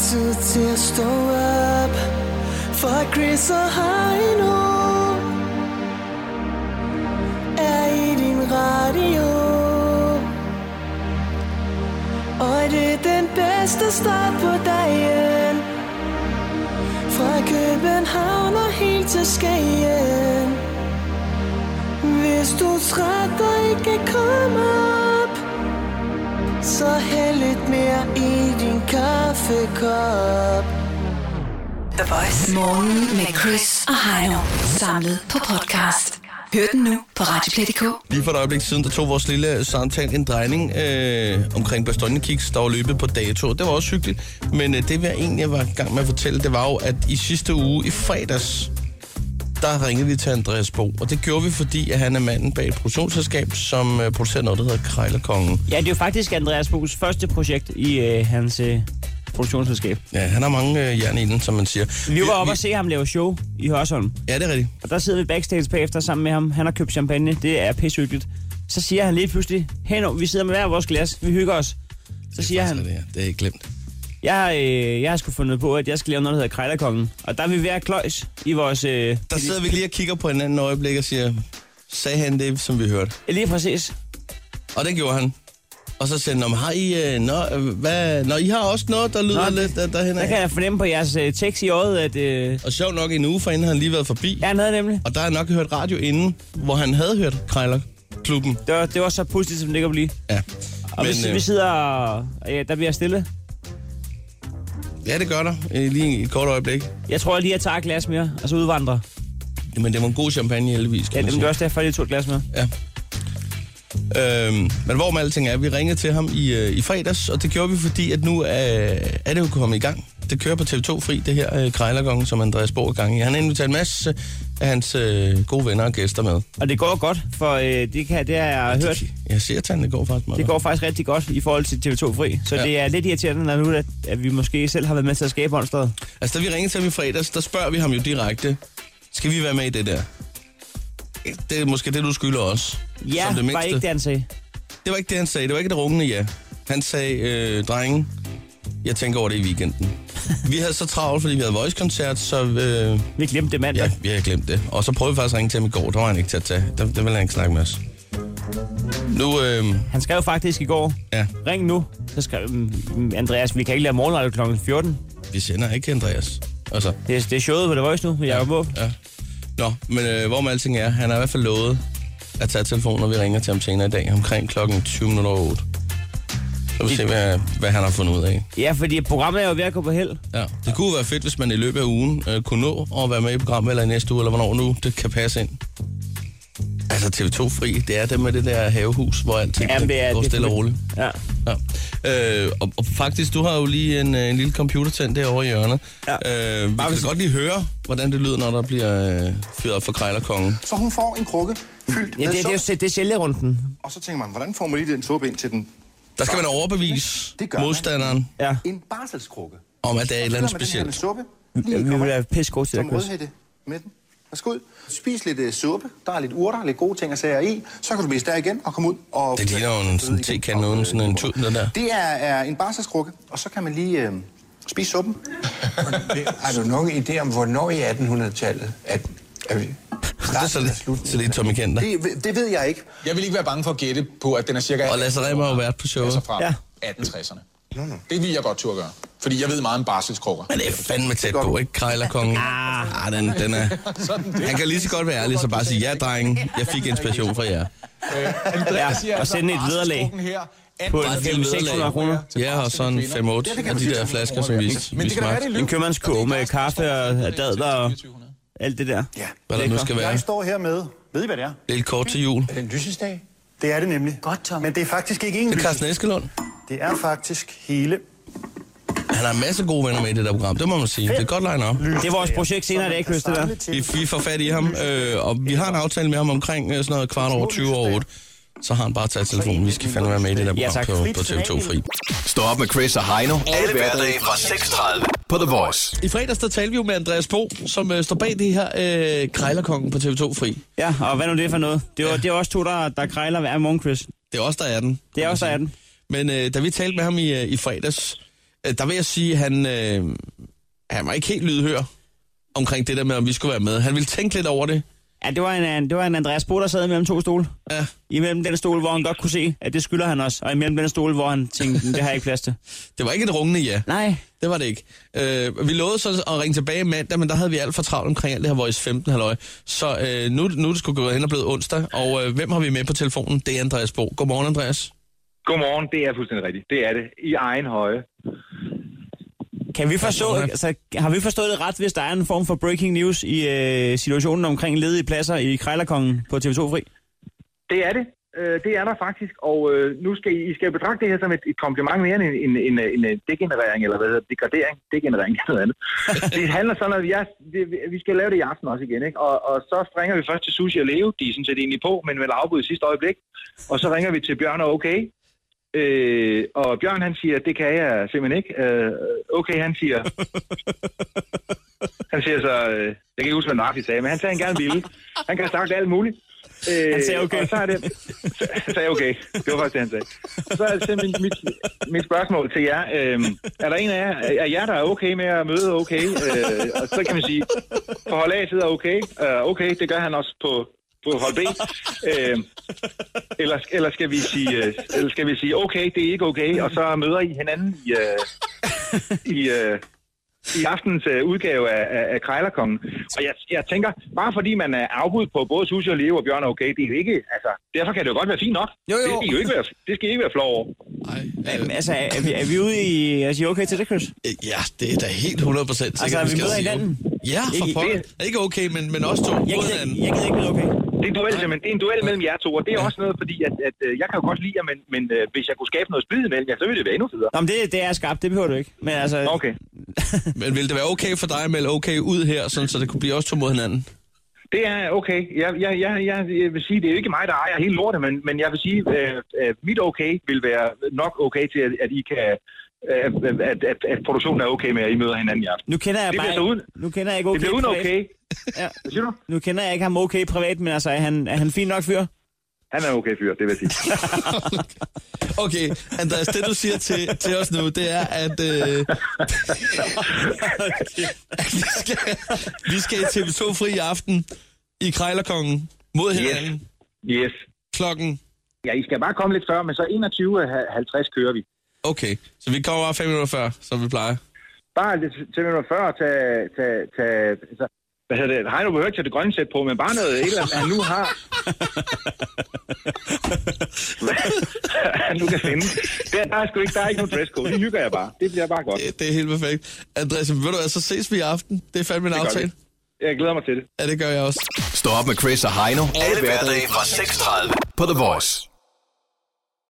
tid til at stå op For Chris og Heino Er i din radio Og det er den bedste start på dagen Fra København og helt til Skagen Hvis du er træt og ikke kan komme op Så hæld lidt mere i din kaffekop The Voice. Morgen med Chris og Heino. Samlet på podcast. Hør den nu på Radioplay.dk. Lige for et øjeblik siden, der tog vores lille samtale en drejning øh, omkring Bastogne Kicks, der var løbet på dato. Det var også hyggeligt, men øh, det, jeg egentlig var i gang med at fortælle, det var jo, at i sidste uge, i fredags, der ringede vi til Andreas Bo, og det gjorde vi, fordi at han er manden bag et produktionsselskab, som øh, producerer noget, der hedder Krejlerkongen. Ja, det er jo faktisk Andreas Bogs første projekt i øh, hans øh, produktionsselskab. Ja, han har mange øh, jern i den, som man siger. Vi var oppe og se ham lave show i Hørsholm, Ja, det er rigtigt. og der sidder vi backstage bagefter sammen med ham. Han har købt champagne, det er pissehyggeligt. Så siger han lige pludselig, Heno, vi sidder med hver vores glas, vi hygger os. Så siger Det, han, er, det er ikke glemt. jeg, har, øh, jeg har sgu fundet på, at jeg skal lave noget, der hedder Krejlerkongen. Og der er vi hver kløjs i vores... Øh, Der sidder vi lige og kigger på hinanden øjeblik og siger, sagde han det, som vi hørte? Lige præcis. Og det gjorde han. Og så sagde han, "Nå, men har I, øh, nå, øh, hvad, nå, I har også noget, der lyder Nå, lidt der, derhen Der kan jeg fornemme på jeres øh, tekst i øjet, at... Øh, Og sjov nok, en uge forinden havde han lige været forbi. ja, han havde nemlig. Og der har jeg nok hørt radio inden, hvor han havde hørt Krejler klubben. Det var, det var så pudsigt, som det kan blive. Ja. øh, Og Men, vi, vi sidder og... Ja, der bliver stille. ja, det gør der. øh, Lige et kort øjeblik. Jeg tror lige, jeg tager et glas mere, og så udvandrer. Men det var en god champagne, heldigvis. Ja, det Kan man det er sige. også derfor, jeg lige tog et glas med. Ja. Øhm, men hvor med alting er, vi ringede til ham i, øh, i fredags, og det gjorde vi, fordi at nu øh, er det jo kommet i gang. Det kører på TV2 Fri, det her øh, Krejlergong, som Andreas Borg gang i. Han har inviteret en masse af hans øh, gode venner og gæster med. Og det går godt, for øh, det, kan, det har jeg hørt. Jeg ser tanden, det går faktisk meget Det går faktisk rigtig godt i forhold til TV2 Fri. Så Ja. ja. det er lidt irriterende, når nu, at, at vi måske selv har været med til at skabe håndstedet. godt. Altså, da vi ringede til ham i fredags, der spørger vi ham jo direkte, skal vi være med i det der? Det er måske det, du skylder os. Ja, som det var mindste. ikke det, han sagde. Det var ikke det, han sagde. Det var ikke det rungende ja. Han sagde, øh, drenge, jeg tænker over det i weekenden. Vi havde så travlt, fordi vi havde voice-koncert, så øh, Vi glemte det mandag. ja, vi havde glemt det. Og så prøvede vi faktisk at ringe til ham i går. Der var han ikke til at tage. Der, der ville han ikke snakke med os. Nu, øh, Han skrev faktisk i går, ja, ring nu. Så skrev mm, Andreas, vi kan ikke lave morgenradio kl. 14. vi sender ikke Andreas. Altså, Det, er- det er showet på The Voice nu, med Jacob Måb. ja. Nå, men øh, hvor med alting er, han har i hvert fald lovet at tage telefonen, når vi ringer til ham senere i dag, omkring klokken 20.08. Så vi se, hvad, hvad han har fundet ud af. Ja, fordi programmet er jo ved at gå på held. Ja, det kunne være fedt, hvis man i løbet af ugen øh, kunne nå at være med i programmet, eller i næste uge, eller hvornår nu det kan passe ind. Altså TV2 Fri, det er det med det der havehus, hvor alt Jamen, det er- går det er stille og fuldt- roligt. Ja. Ja. Øh, og, og faktisk, du har jo lige en, øh, en lille computer tændt derovre i hjørnet. Ja. Øh, vi kan godt lige høre, hvordan det lyder, når der bliver øh, fyret op for Krejlerkongen. Så hun får en krukke fyldt Ja, med det, det, er, suppe, jo- det er sælgerunden. og så tænker man, hvordan får man lige den suppe ind til den? Der skal man overbevise Det gør man. modstanderen Ja. En barselskrukke. om, at det er et eller andet Så fylder man den her med specielt. suppe, Ja, lige vi kommer vil være pisse gode til det, som Chris. rødhætte med den. Værsgo ud. Spis lidt uh, suppe. Der er lidt urter, lidt gode ting at sager i. Så kan du miste der igen og komme ud. Og Det ligner jo en sådan tekande uden sådan en tun, den der. Det er, er en barselskrukke, og så kan man lige uh, spise suppen. Har du nogen idé om, hvornår i 1800-tallet, at, at vi Det er så lidt, så lidt Tommy Kenter. Det, ved- det ved jeg ikke. Jeg vil ikke være bange for at gætte på, at den er cirka... Og Lasse Remmer har jo været på showet. Altså fra Ja. ja. 1860'erne. Det vil jeg godt turde gøre. Fordi jeg ved meget om barselskrukker. Men det er fandme tæt på, ikke? Krejlerkongen. Ah, ah, den, den er... Han kan lige så godt være ærlig, så bare sige, ja, drenge, jeg fik inspiration fra jer. Andreas siger og altså, sende et vederlag barselskrukken her, på anbragt en til fem- vederlag. 600 kroner. Ja, og sådan 5 8 af de der flasker, som vi, Men vi det kan da smagte. være, det er En løb. købmandskog med kaffe og dadler og alt det der. Ja. Hvad der nu skal være. Jeg står her med. Ved I, hvad det er? Det er et kort til jul. den lysesdag? Det er det nemlig. Godt, Tom. Men det er faktisk ikke en Det er lys. Carsten Eskelund. Det er faktisk hele Han har en masse gode venner med i det der program. Det må man sige. Det er godt line op. Det er vores projekt senere i dag, Chris, det der. Vi, vi får fat i ham, øh, og vi har en aftale med ham omkring øh, sådan noget kvart over 20 over 8. Så har han bare taget telefonen. Vi skal fandme være med i det der Ja, program tak. på, på TV2 Fri. Stå op med Chris og Heino. Alle hverdage fra 6.30 på The Voice. I fredags, der talte vi jo med Andreas Bo, som øh, står bag det her øh, Krejlerkongen på TV2 Fri. Ja, og hvad nu det er for noget? Det er, ja. det er også to, der, der krejler hver morgen, Chris. Det er også der er den. Det er også der er den. Men øh, da vi talte med ham i, øh, i fredags, Øh, Der vil jeg sige, at han, øh, han var ikke helt lydhør omkring det der med, om vi skulle være med. Han ville tænke lidt over det. Ja, det var en, det var en Andreas Bo, der sad imellem to stole. Ja. Imellem den stol, hvor han godt kunne se, at det skylder han også. Og imellem den stol, hvor han tænkte, "Men det har jeg ikke plads til. Det var ikke et rungende ja. Nej, Det var det ikke. Øh, vi lovede så at ringe tilbage mandag, men der havde vi alt for travlt omkring alt det her Voice 15 halløj. Så øh, nu, nu er det sgu gået hen og blevet onsdag, og øh, hvem har vi med på telefonen? Det er Andreas Bo. Godmorgen, Andreas. Godmorgen, det er fuldstændig rigtigt. Det er det. I egen høje. kan vi forstå, Ja, det er altså, har vi forstået det ret, hvis der er en form for breaking news i øh, situationen omkring ledige pladser i Krejlerkongen på TV2 Fri? Det er det. Øh, Det er der faktisk, og øh, nu skal I, I skal betragte det her som et, et kompliment mere end en, en, en, en øh, degenerering, eller hvad hedder det, degradering, degenerering eller noget andet. det handler sådan, at jeg, det, vi skal lave det i aften også igen, ikke? Og, og så ringer vi først til Sushi og Leo, de er sådan set egentlig på, men vil afbryde i sidste øjeblik, og så ringer vi til Bjørn og okay, øh, og Bjørn han siger, det kan jeg simpelthen ikke, øh, okay han siger, han siger så, øh, jeg kan ikke huske, hvad Nafi sagde, men han sagde, han gerne ville, han kan have sagt alt muligt. Øh, Han sagde okay. Og så er det, så, han sagde okay. Det var faktisk det, han sagde. Så er det simpelthen mit, mit spørgsmål til jer. Øh, er der en af jer, er jer, der er okay med at møde okay? Øh, og så kan man sige, på hold A sidder okay. Øh, okay, det gør han også på, på hold B. Øh, eller, eller, skal vi sige, øh, eller skal vi sige, okay, det er ikke okay, og så møder I hinanden i, øh, i, øh, i aftens øh, udgave af, af, af Krejlerkongen. Og jeg, jeg tænker, bare fordi man er afbud på både Susie og Leo og Bjørn og okay, det er jo ikke, altså, derfor kan det jo godt være fint nok. Jo, jo. Det skal I jo ikke være, det skal I ikke være flov over. Nej. Jamen, altså, er, er, vi, er vi ude i at sige okay til det, Chris? Øh, Ja, det er da helt 100 sikkert. Altså, vi skal møder sige. hinanden. Ja, for Ikke- pokker. Ikke okay, men, men også to. Jeg mod gider, hinanden. jeg gider ikke vide okay. Det er en duel, simpelthen. Det er en duel mellem jer to, og det er også noget, fordi at, at, øh, jeg kan jo godt lide jer, men, men øh, hvis jeg kunne skabe noget splid imellem jer, så ville det være endnu federe. Nå, men det, det er skarpt, det behøver du ikke. Men altså, Okay. Men ville det være okay for dig at melde okay ud her, sådan, så det kunne blive også to mod hinanden? Det er okay. Jeg, jeg, jeg, jeg vil sige, det er jo ikke mig, der ejer hele lortet, men, men jeg vil sige, øh, øh, mit okay vil være nok okay til, at, at I kan øh, at, at, at produktionen er okay med, at I møder hinanden i aften. nu kender jeg Det bare... bliver så uden- Nu kender jeg ikke Det okay bliver uden privat. okay. Ja. Hvad siger du? Nu kender jeg ikke ham okay privat, men altså, er han, er han fin nok fyr? Han er en okay fyr, det vil jeg sige. Okay, Andreas, det du siger til, til os nu, det er, at, øh, at vi, skal, vi skal i TV2 fri i aften i Krejlerkongen mod hinanden Yes. klokken. Ja, I skal bare komme lidt før, men så 21.50 kører vi. Okay, så vi kommer bare fem minutter før, som vi plejer. Bare lidt til minutter før at tage... tage, tage altså, hvad hedder det? Heino behøver ikke tage det grønne sæt på, men bare noget et eller andet, han nu har. han nu kan finde. Det er, der, er sgu ikke, der er ikke nogen dresscode. Det hygger jeg bare. Det bliver bare godt. Det, det er helt perfekt. Andreas, ved du hvad, så ses vi i aften. Det er fandme en Det gør aftale. vi. Jeg glæder mig til det. Ja, det gør jeg også. Stå op med Chris og Heino. Alle hverdage fra 6.30 på The Voice.